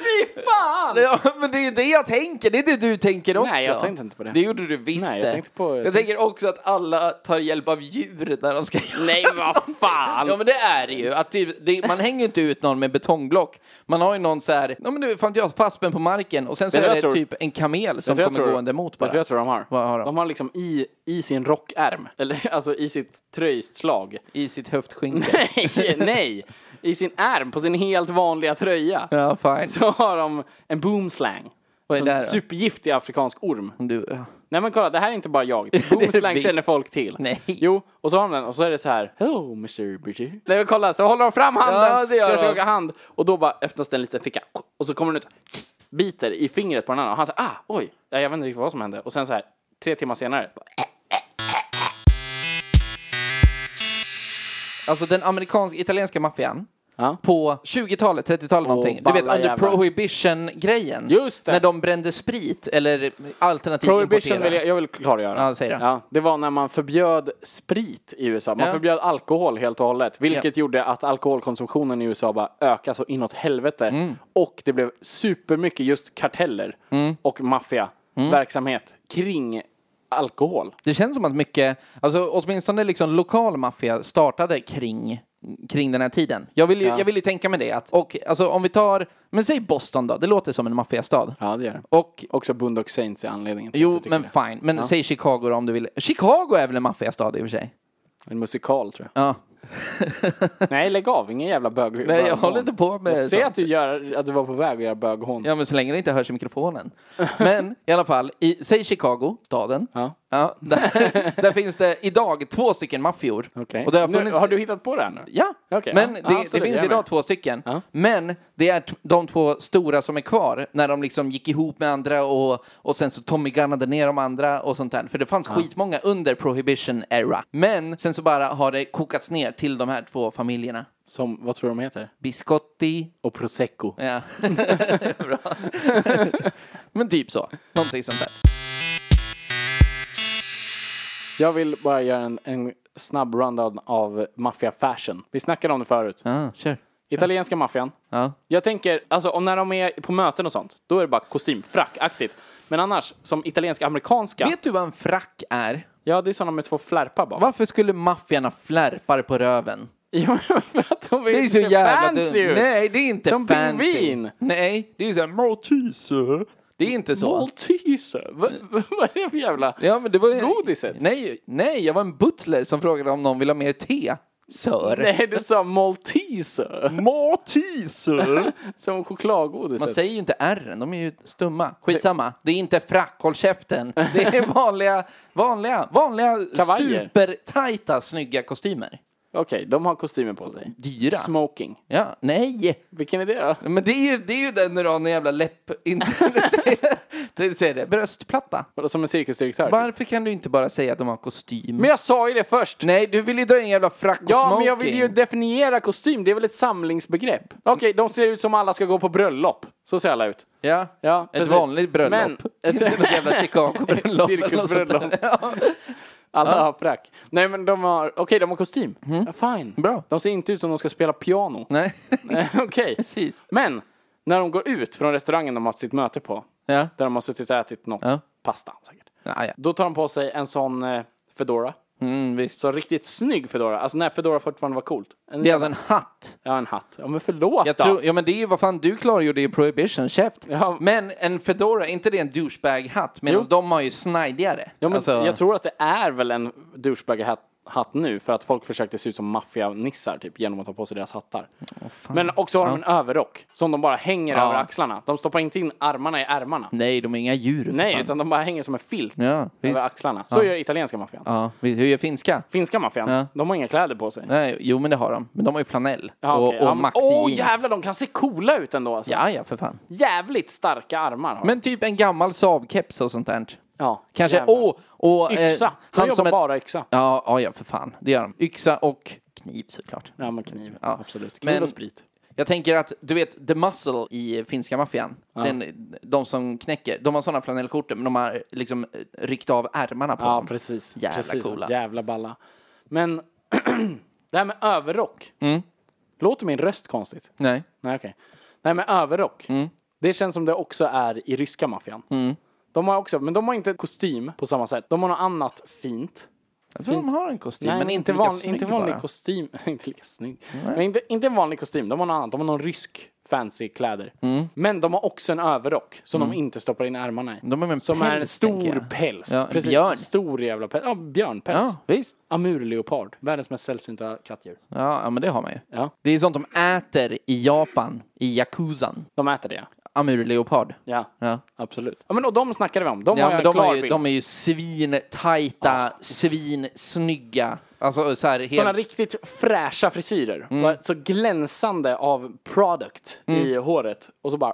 S2: Fy fan! Ja, men det är ju det jag tänker, det är det du tänker också.
S1: Nej, jag tänkte inte på det.
S2: Det gjorde du visst
S1: Nej, jag
S2: det.
S1: tänkte på-
S2: jag tänker också att alla tar hjälp av djur när de ska göra
S1: Nej, vad fan!
S2: Ja men det är det ju, att typ, det, man hänger ju inte ut någon med betongblock. Man har ju någon så här, ja men du fan jag fastspänd på marken och sen så
S1: Vet
S2: är
S1: du vad
S2: det
S1: jag tror?
S2: typ en kamel som
S1: Vet du vad Alltså, jag
S2: kommer
S1: tror-
S2: gående mot
S1: Vet du vad
S2: bara.
S1: jag tror de har?
S2: Vad har de?
S1: de har liksom i, i sin rockärm, eller alltså i sitt tröjslag.
S2: I sitt höftskynke.
S1: Nej, nej! I sin ärm, på sin helt vanliga tröja.
S2: ja fine.
S1: Så har de en boomslang.
S2: Vad är
S1: Som
S2: det här då?
S1: supergiftig afrikansk orm.
S2: Du, ja.
S1: Nej men kolla, det här är inte bara jag. Boomslang
S2: visst.
S1: känner folk till.
S2: Nej.
S1: Jo, och så har de den och så är det så här. Hello Mr. Bitchy. Nej men kolla, så håller de fram handen.
S2: Ja, det gör
S1: så jag ska
S2: de.
S1: åka hand. Och då bara öppnas den liten ficka. Och så kommer den ut. Biter i fingret på den andra. Och han säger ah, oj. Ja, Jag vet inte riktigt vad som hände. Och sen så här, tre timmar senare. bara, äh.
S2: Alltså den amerikanska, italienska maffian.
S1: Ja.
S2: på 20-talet, 30-talet någonting. Du
S1: balla
S2: vet under
S1: jävlar.
S2: prohibition-grejen.
S1: Just det.
S2: När de brände sprit eller alternativt
S1: Prohibition
S2: importerade.
S1: vill jag, jag vill klargöra.
S2: Ja, säg det.
S1: Ja, det var när man förbjöd sprit i USA. Man
S2: Ja.
S1: förbjöd alkohol helt och hållet. Vilket gjorde att alkoholkonsumtionen i USA bara ökade så inåt helvete.
S2: Mm.
S1: Och det blev supermycket just karteller och maffiaverksamhet
S2: Mm.
S1: kring alkohol.
S2: Det känns som att mycket, alltså åtminstone liksom lokal maffia startade kring, kring den här tiden. Jag vill ju, jag vill ju tänka mig det att, och alltså om vi tar, men säg Boston då, det låter som en maffiastad.
S1: Ja, det gör det.
S2: Och
S1: Också Bund och Saints är anledningen till att
S2: Jo,
S1: du tycker
S2: men
S1: det.
S2: fine. Men säg Chicago då om du vill. Chicago är väl en maffiastad i och för sig?
S1: En musikal tror jag.
S2: Ja.
S1: Nej, lägg av. Ingen jävla bög.
S2: Nej, jag håller inte på med
S1: Jag ser
S2: sånt.
S1: att du, gör, att du var på väg att göra böghån.
S2: Ja, men så länge det inte hörs i mikrofonen. Men i alla fall, i, säg Chicago, staden.
S1: Ja.
S2: där, där finns det idag två stycken maffior.
S1: Okej.
S2: Och det har
S1: Nu-
S2: funnits...
S1: Har du hittat på det här nu?
S2: Ja,
S1: Okej,
S2: men
S1: ja.
S2: det,
S1: Ja, absolut,
S2: det
S1: jag är
S2: finns
S1: med.
S2: idag två stycken.
S1: Ja.
S2: Men det är t- de två stora som är kvar när de liksom gick ihop med andra och, och sen så Tommy gunnade ner de andra och sånt där. För det fanns skitmånga under prohibition era. Men sen så bara har det kokats ner till de här två familjerna.
S1: Som, vad tror du de heter?
S2: Biscotti
S1: Och prosecco.
S2: Ja. Bra. Men typ så. Någonting sånt där.
S1: Jag vill bara göra en, en snabb rundown av maffia fashion. Vi snackade om det förut.
S2: Ja, kör.
S1: Italienska maffian.
S2: Eh. Ja.
S1: Jag tänker, alltså om när de är på möten och sånt, då är det bara kostym, frack, aktigt. Men annars, som italienska, amerikanska,
S2: Vet du vad en frack är?
S1: ja det är sådana med två flärpar bak.
S2: Varför skulle maffian ha flärpar på röven?
S1: Ja, för att de vill
S2: Det är så
S1: se
S2: jävla
S1: fancy
S2: dumt.
S1: ut.
S2: Nej, det är inte
S1: Som
S2: fancy.
S1: pingvin.
S2: Nej, det är ju såhär
S3: Malteser.
S2: Det är inte så.
S1: Malteser, vad, vad är det för jävla...
S2: Ja, men det var ju...
S1: Godiset.
S2: Nej, nej, jag var en butler som frågade om någon ville ha mer te. Sör.
S1: Nej, du sa malteser,
S3: Malteser.
S1: som typ. chokladgodiset.
S2: Man säger ju inte R, de är ju stumma. Skitsamma, det är inte frack, håll käften. Det är vanliga, vanliga, vanliga
S1: Kavajer.
S2: supertajta snygga kostymer.
S1: Okej, de har kostymer på sig.
S2: Dyra.
S1: Smoking.
S2: Ja, nej!
S1: Vilken är det då?
S2: Men det är ju, det är ju den när du har någon jävla läpp... Inte, det, det, säger det, bröstplatta.
S1: Vadå, Som en cirkusdirektör?
S2: Varför kan du inte bara säga att de har kostym?
S1: Men jag sa ju det först!
S2: Nej, du vill ju dra in jävla frack och
S1: Ja,
S2: smoking.
S1: men jag vill ju definiera kostym. Det är väl ett samlingsbegrepp? Okej, de ser ut som alla ska gå på bröllop. Så ser alla ut.
S2: Ja,
S1: Ja,
S2: ett
S1: precis.
S2: vanligt bröllop.
S1: Men-
S2: Inte något jävla Chicago-bröllop.
S1: Cirkusbröllop.
S2: eller något sånt där. Ja. Mm.
S1: Alla har frack. Nej, men de har... Okej, de har kostym. Ja, fine.
S2: Bra.
S1: De ser inte ut som de ska spela piano.
S2: Nej,
S1: Nej, Okej.
S2: precis.
S1: Men, när de går ut från restaurangen de har sitt möte på,
S2: Ja.
S1: där de har suttit och ätit något,
S2: Ja.
S1: pasta säkert,
S2: Ja, ja.
S1: då tar de på sig en sån eh, fedora.
S2: Mm, visst.
S1: Så riktigt snygg Fedora. Alltså när Fedora fortfarande var coolt. En,
S2: Det är alltså en hatt.
S1: Ja, en hatt. Ja, men förlåt
S2: Jag
S1: då.
S2: tror, ja men det är ju vad fan du klargjorde i Prohibition, käft.
S1: Ja.
S2: Men en Fedora, är inte det en douchebag-hatt? Medan
S1: Jo.
S2: de har ju snidigare.
S1: Ja, men
S2: Alltså-
S1: Jag tror att det är väl en douchebag-hatt nu för att folk försökte se ut som maffianissar typ genom att ta på sig deras hattar. men också har de en överrock som de bara hänger över axlarna. De stoppar inte in armarna i ärmarna.
S2: Nej, de är inga djur. för
S1: Nej,
S2: fan.
S1: utan de bara hänger som en filt
S2: Mm. Ja, visst.
S1: över axlarna. Så gör italienska maffian.
S2: Ja, visst, hur gör finska?
S1: Finska maffian, de har inga kläder på sig.
S2: Nej, jo men det har de. Men de har ju flanell.
S1: Ja,
S2: och
S1: okej.
S2: och
S1: Ja, men-
S2: maxi
S1: Åh
S2: jeans.
S1: jävlar, de kan se coola ut ändå alltså.
S2: Ja, ja för fan.
S1: Jävligt starka armar har de.
S2: Men typ en gammal Saab-keps och sånt där.
S1: ja,
S2: Kanske,
S1: jävlar.
S2: åh! Och, eh,
S1: Yxa, de jobbar
S2: en-
S1: bara yxa.
S2: Ja, ja, ja, för fan. Det gör de. Yxa och kniv såklart.
S1: Ja, men kniv,
S2: Ja.
S1: absolut. Kniv
S2: Men-
S1: och sprit.
S2: Jag tänker att, du vet, The Muscle i finska maffian, den, de som knäcker, de har sådana flanellskjortor men de har liksom eh, ryckt av ärmarna på
S1: Ja,
S2: dem.
S1: precis.
S2: Jävla
S1: precis.
S2: coola.
S1: Jävla balla. Men det här med överrock.
S2: Mm.
S1: Låter min röst konstigt?
S2: Nej.
S1: Nej, okej. Det här med överrock.
S2: Mm.
S1: Det känns som det också är i ryska maffian. De har också, men de har inte kostym på samma sätt. De har något annat fint.
S2: Jag tror de har en kostym,
S1: Nej,
S2: men inte,
S1: van,
S2: lika snygg
S1: inte vanlig
S2: bara.
S1: kostym. inte lika snygg. Men inte, inte en vanlig kostym. De har något annat. De har någon rysk fancy kläder.
S2: Mm.
S1: Men de har också en överrock som de inte stoppar in ärmarna i.
S2: De har med en
S1: som är en
S2: päls, tänker
S1: stor
S2: jag.
S1: päls.
S2: Ja, en
S1: Precis,
S2: björn.
S1: en stor jävla päls. Ja, björnpäls.
S2: Ja, visst.
S1: Amurleopard. Världens mest sällsynta kattdjur.
S2: Ja, ja, men det har man ju.
S1: Ja.
S2: Det är sånt de äter i Japan, i Yakuzan.
S1: De äter det, ja.
S2: Amurleopard.
S1: Ja,
S2: Ja.
S1: absolut. Ja, men, och de snackade vi om. De
S2: Ja,
S1: har jag
S2: men de,
S1: en klar
S2: är ju,
S1: bild.
S2: de är ju svintajta, svinsnygga. Alltså så här,
S1: Sådana
S2: helt...
S1: riktigt fräscha frisyrer.
S2: Mm.
S1: Bara Så glänsande av product i håret. Och så bara...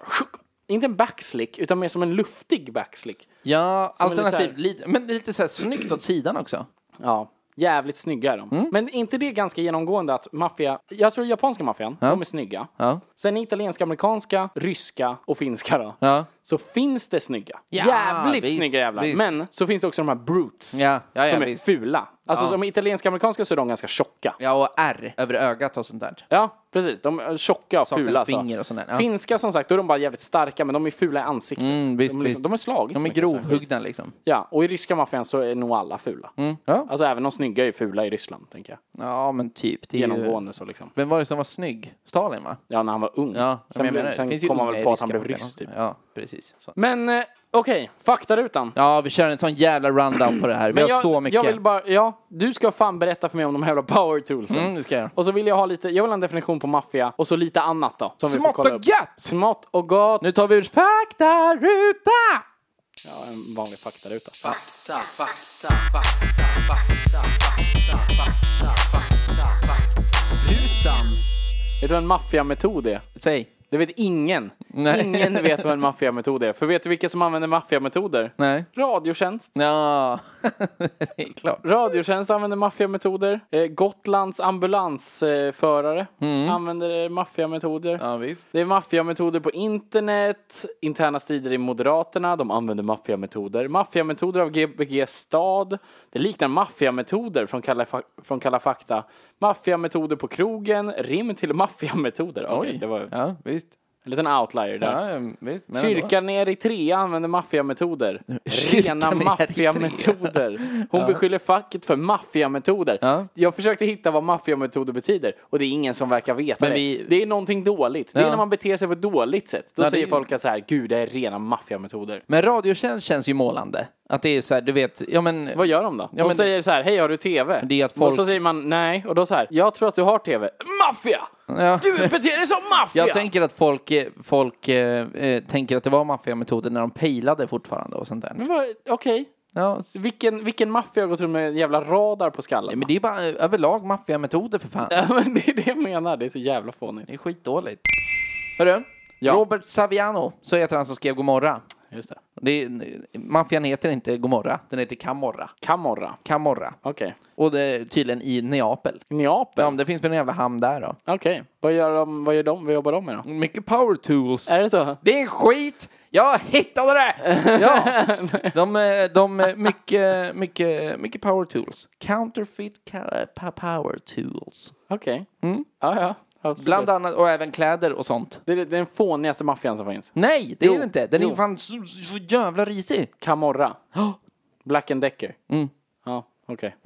S1: Inte en backslick, utan mer som en luftig backslick.
S2: Ja,
S1: är lite så
S2: alternativt
S1: här-
S2: lite, men lite så här snyggt åt sidan också.
S1: Ja, jävligt snygga är de.
S2: Mm.
S1: Men är inte det ganska genomgående att maffia... Jag tror japanska maffian, de är snygga.
S2: Ja.
S1: Sen italienska, amerikanska, ryska och finska då.
S2: Ja.
S1: Så finns det snygga.
S2: Ja,
S1: Jävligt
S2: visst,
S1: snygga jävlar.
S2: visst.
S1: Men så finns det också de här brutes.
S2: Ja, ja, ja,
S1: som är
S2: visst.
S1: fula. Alltså som italienska, amerikanska så är de ganska tjocka.
S2: Ja, och R över ögat och sånt där.
S1: Ja, precis. De är tjocka och
S2: Saknar
S1: fula. Alltså.
S2: finger och sånt där, ja.
S1: Finska som sagt, då är de bara jävligt starka men de är fula i ansiktet.
S2: Mm, visst,
S1: de, är liksom,
S2: visst.
S1: de är slagit.
S2: De är grovhuggna liksom.
S1: Ja, och i ryska maffian så är nog alla fula.
S2: Mm, Ja.
S1: Alltså även de snygga är ju fula i Ryssland, tänker jag.
S2: ja, men typ. Det är ju...
S1: Genomgående så liksom.
S2: Vem var det som var snygg? Stalin, va?
S1: Ja, när han var ung.
S2: Ja, men
S1: sen
S2: jag menar, det
S1: sen
S2: finns ju
S1: kom han
S2: unga
S1: väl
S2: i
S1: på att han
S2: ryska
S1: blev
S2: maffian
S1: ryss
S2: också.
S1: typ.
S2: Ja, precis. Så.
S1: Men eh, okej, faktarutan.
S2: Ja, vi kör en sån jävla rundown på det här. Vi har
S1: jag,
S2: så mycket.
S1: jag vill bara, ja, du ska fan berätta för mig om de här jävla power toolsen.
S2: Mm, det ska jag göra.
S1: Och så vill jag ha lite, jag vill ha en definition på maffia och så lite annat då. Som vi får
S2: Smått
S1: kolla
S2: och
S1: upp.
S2: gött!
S1: Smått och gott!
S2: Nu tar vi ut faktaruta!
S1: Ja, en vanlig faktaruta. Vet du vad en maffiametod är?
S2: Säg.
S1: Det vet ingen.
S2: Nej.
S1: Ingen vet vad en maffiametod är. För vet du vilka som använder maffiametoder?
S2: Nej.
S1: Radiotjänst.
S2: Ja, det är klart.
S1: Radiotjänst använder maffiametoder. Eh, Gotlands ambulansförare använder maffiametoder.
S2: Mm. Ja, visst.
S1: Det är maffiametoder på internet, interna strider i Moderaterna, de använder maffiametoder. Maffiametoder av Gbg Stad. Det liknar maffiametoder från Kalla, Fa- från Kalla fakta. Maffiametoder på krogen, rim till maffiametoder. Okej, det var
S2: Ja, visst.
S1: en liten outlier där.
S2: Ja, ja, visst. Men ändå.
S1: Kyrkan i Eritrea använder maffiametoder.
S2: Kyrkan i
S1: Rena
S2: Eritrea.
S1: maffiametoder. Hon beskyller facket för maffiametoder.
S2: Ja.
S1: Jag försökte hitta vad maffiametoder betyder och det är ingen som verkar veta
S2: Men
S1: det.
S2: vi-
S1: Det är någonting dåligt. Det
S2: Ja.
S1: är när man beter sig på ett dåligt sätt. Då
S2: Ja, det
S1: säger
S2: är-
S1: folk att så här, gud det är rena maffiametoder.
S2: Men Radiotjänst känns ju målande. Att det är så här, du vet, ja men...
S1: Vad gör de då? de
S2: men-
S1: säger så här, hej har du TV?
S2: Det är att folk-
S1: Och så säger man nej, och då så här, jag tror att du har TV. Maffia!
S2: Ja.
S1: Du beter dig som maffia!
S2: Jag tänker att folk, eh, folk eh, eh, tänker att det var maffiametoder när de pejlade fortfarande och sånt där.
S1: Men vad- Okej,
S2: Ja, s-
S1: vilken, vilken maffia har gått runt med en jävla radar på skallen?
S2: men det är ju bara eh, överlag maffiametoder för fan.
S1: Ja, men det är det jag menar. Det är så jävla fånigt.
S2: Det är skitdåligt. Hörru,
S1: Ja.
S2: Robert Saviano, så heter han som skrev Gomorra.
S1: Just det.
S2: Det är, maffian heter inte Gomorra, den heter Camorra.
S1: Camorra.
S2: Camorra.
S1: Okej.
S2: Och det är tydligen i Neapel.
S1: Neapel.
S2: Ja, men det finns väl en jävla hamn där då.
S1: Okej. Vad gör de? Vad gör de? Vad jobbar de med då?
S2: Mycket power tools.
S1: Är det så?
S2: Det är en skit! Jag hittade det! Ja. De, eh, de eh, mycket, mycket, mycket power tools. Counterfeit ca- pa- power tools.
S1: Okej. Ja, ja. Absolut.
S2: Bland annat, och även kläder och sånt.
S1: Det är det är den fånigaste maffian som finns.
S2: Nej, det är
S1: Jo,
S2: det inte. Den är
S1: jo.
S2: ju fan så, så jävla risig.
S1: Camorra. Black and Decker. Ja, okej.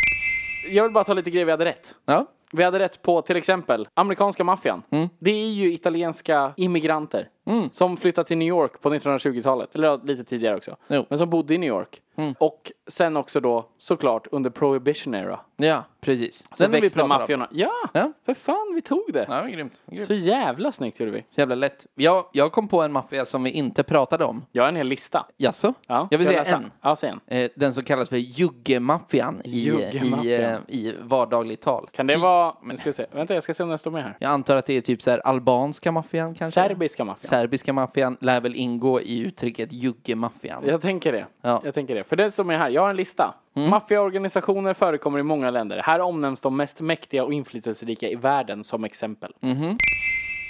S1: Jag vill bara ta lite grejer vi hade rätt.
S2: Ja.
S1: Vi hade rätt på till exempel amerikanska maffian.
S2: Mm.
S1: Det är ju italienska immigranter som flyttade till New York på 1920-talet, eller ja, lite tidigare också.
S2: Jo. Mm.
S1: Men som bodde i New York. Och sen också då såklart under prohibition era.
S2: ja, precis.
S1: Så
S2: Den har vi
S1: växte
S2: pratat om.
S1: maffiorna. Ja,
S2: Ja.
S1: för fan vi tog det.
S2: Ja, grymt. grymt.
S1: Så jävla snyggt gjorde vi.
S2: Jävla lätt. Jag, jag kom på en maffia som vi inte pratade om.
S1: Jag har en hel lista.
S2: Jaså?
S1: Ja,
S2: jag vill
S1: ska
S2: säga
S1: läsa?
S2: en.
S1: Ja, säg en.
S2: Eh, Den som kallas för juggemaffian i, i, eh,
S1: Juggemaffian.
S2: i vardagligt tal.
S1: Kan det vara... Nu ska jag se. Vänta, jag ska se om den står med här.
S2: Jag antar att det är typ så här albanska maffian kanske?
S1: Serbiska maffian.
S2: Serbiska maffian lär väl ingå i uttrycket juggemaffian.
S1: Jag tänker det.
S2: Ja. Mm.
S1: Jag tänker det. För det står med här. Jag har en lista. Maffiaorganisationer förekommer i många länder. Här omnämns de mest mäktiga och inflytelserika i världen som exempel.
S2: Mhm.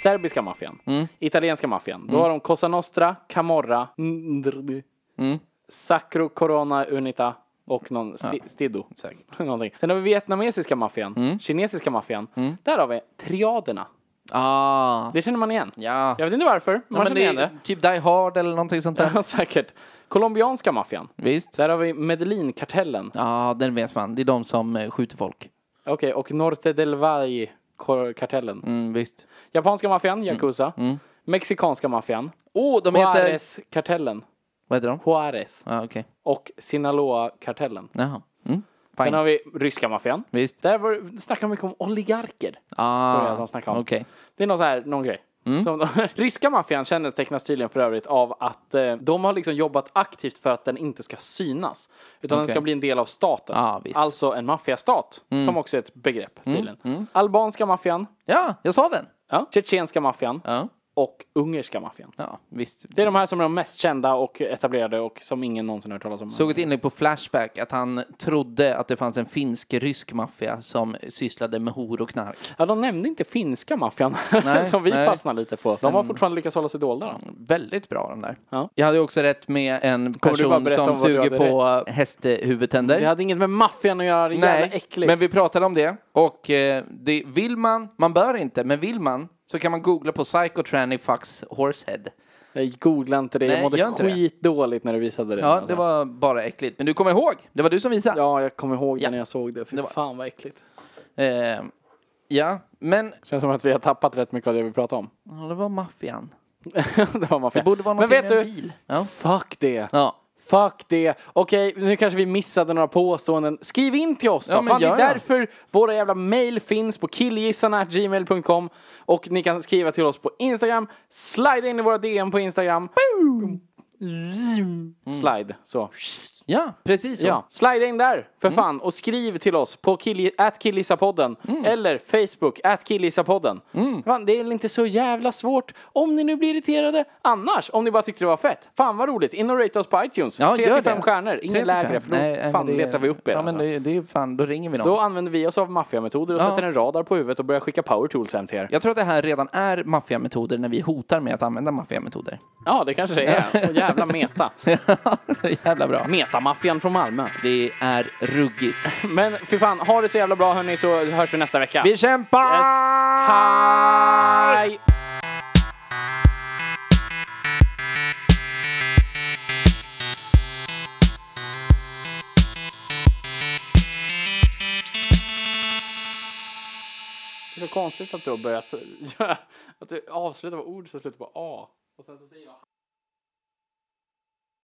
S1: Serbiska maffian.
S2: Mm.
S1: Italienska maffian. Då har de Cosa Nostra, Camorra, Ndrd,
S2: Mm.
S1: Sacro Corona Unita och någon sti, Stido. Någonting. Sen har vi vietnamesiska maffian,
S2: Mm.
S1: kinesiska maffian. Där har vi triaderna.
S2: Ah,
S1: Det känner man igen.
S2: ja.
S1: Jag vet inte varför, men man
S2: Men
S1: känner
S2: det
S1: igen
S2: är
S1: det.
S2: typ Die Hard eller någonting sånt där.
S1: Ja, säkert. Colombianska maffian.
S2: Visst?
S1: Där har vi Medellin-kartellen.
S2: Ja, den vet man. Det är de som eh, skjuter folk.
S1: Okej, och Norte del Valle-kartellen.
S2: Mm, visst.
S1: Japanska maffian, Yakuza. Mexikanska maffian.
S2: Åh, oh, de heter...
S1: Juarez-kartellen.
S2: Vad heter de?
S1: Juarez.
S2: Ja, ah, okej.
S1: Och Sinaloa-kartellen.
S2: Jaha. Mm.
S1: Sen har vi ryska maffian.
S2: Visst.
S1: Där var, snackar de mycket om oligarker. Sorry, jag
S2: Ah,
S1: som snackar om.
S2: okej.
S1: Det är någon, så här, någon grej.
S2: Mm.
S1: Som, ryska maffian kännetecknas tydligen för övrigt av att eh, de har liksom jobbat aktivt för att den inte ska synas. Utan den
S2: Okej.
S1: ska bli en del av staten.
S2: Ah, visst. Mm.
S1: alltså en maffiastat, som också är ett begrepp tydligen. Albanska maffian,
S2: Ja, jag sa den.
S1: ja. tjetjenska maffian
S2: Ja,
S1: och ungerska maffian.
S2: ja visst.
S1: Det är de här som är de mest kända och etablerade och som ingen någonsin har hört talas om.
S2: Såg ett inlägg på Flashback att han trodde att det fanns en finsk-rysk maffia som sysslade med hor och knark.
S1: Ja, de nämnde inte finska maffian,
S2: Nej,
S1: som vi
S2: nej. Mm.
S1: fastnade lite på. De har fortfarande lyckats hålla sig dolda. Då.
S2: Väldigt bra de där.
S1: Ja.
S2: Jag hade ju också rätt med en
S1: bara
S2: person
S1: berätta om
S2: som
S1: vad du
S2: suger
S1: hade
S2: på
S1: Det
S2: hästhuvudtänder.
S1: hade inget med maffian att göra, det är jävla äckligt.
S2: men vi pratade om det. Och eh, det, vill man, man bör inte, men vill man så kan man googla på Psycho Tranny Fucks Horsehead.
S1: Jag googlade inte det.
S2: Nej,
S1: jag mådde
S2: gör inte det.
S1: skitdåligt när du visade det.
S2: Ja, det var bara äckligt. Men du kommer ihåg, det var du som visade.
S1: ja jag kommer ihåg det
S2: Ja.
S1: när jag såg det. Fy
S2: Det var-
S1: fan vad äckligt.
S2: Ja, eh, ja men
S1: Känns som att vi har tappat rätt mycket av det vi pratade om.
S2: ja, det var maffian.
S1: det var maffia.
S2: Det borde vara
S1: Men
S2: någonting
S1: vet
S2: med en
S1: du,
S2: bil. Ja.
S1: fuck det.
S2: ja.
S1: Fuck det. Okej, nu kanske vi missade några påståenden. Skriv in till oss då.
S2: Ja, men
S1: Fan, det är
S2: gör det.
S1: därför våra jävla mail finns på killgissarna.gmail.com och ni kan skriva till oss på Instagram. Slide in i våra DM på Instagram. Slide, så.
S2: Ja, precis så.
S1: Ja, slide in där för
S2: Mm.
S1: fan och skriv till oss på killi, at killgissapodden
S2: Mm.
S1: eller Facebook at killgissapodden. Fan, det är väl inte så jävla svårt om ni nu blir irriterade. Annars, om ni bara tyckte det var fett. Fan vad roligt. In och rate oss på iTunes.
S2: Ja,
S1: Tre
S2: gör
S1: till
S2: det.
S1: fem stjärnor.
S2: Tre
S1: Inget
S2: till
S1: lägre
S2: fem.
S1: för då
S2: Nej, nej,
S1: fan
S2: men det-
S1: letar vi upp er.
S2: Ja, men
S1: alltså.
S2: det, det är fan, då ringer vi någon.
S1: Då använder vi oss av maffiametoder och
S2: Ja.
S1: sätter en radar på huvudet och börjar skicka power tools hem till er. Ja,
S2: Jag tror att det här redan är maffiametoder när vi hotar med att använda maffiametoder.
S1: det kanske det är. Och jävla meta.
S2: Så jävla bra.
S1: Metamaffian från Malmö.
S2: Det är ruggigt.
S1: Men fy fan, ha det så jävla bra hörni så hörs vi nästa vecka.
S2: Vi kämpar!
S1: Yes. Hej! Det är så konstigt att du har börjat göra, att du avslutar med ord som slutar på A och sen så säger jag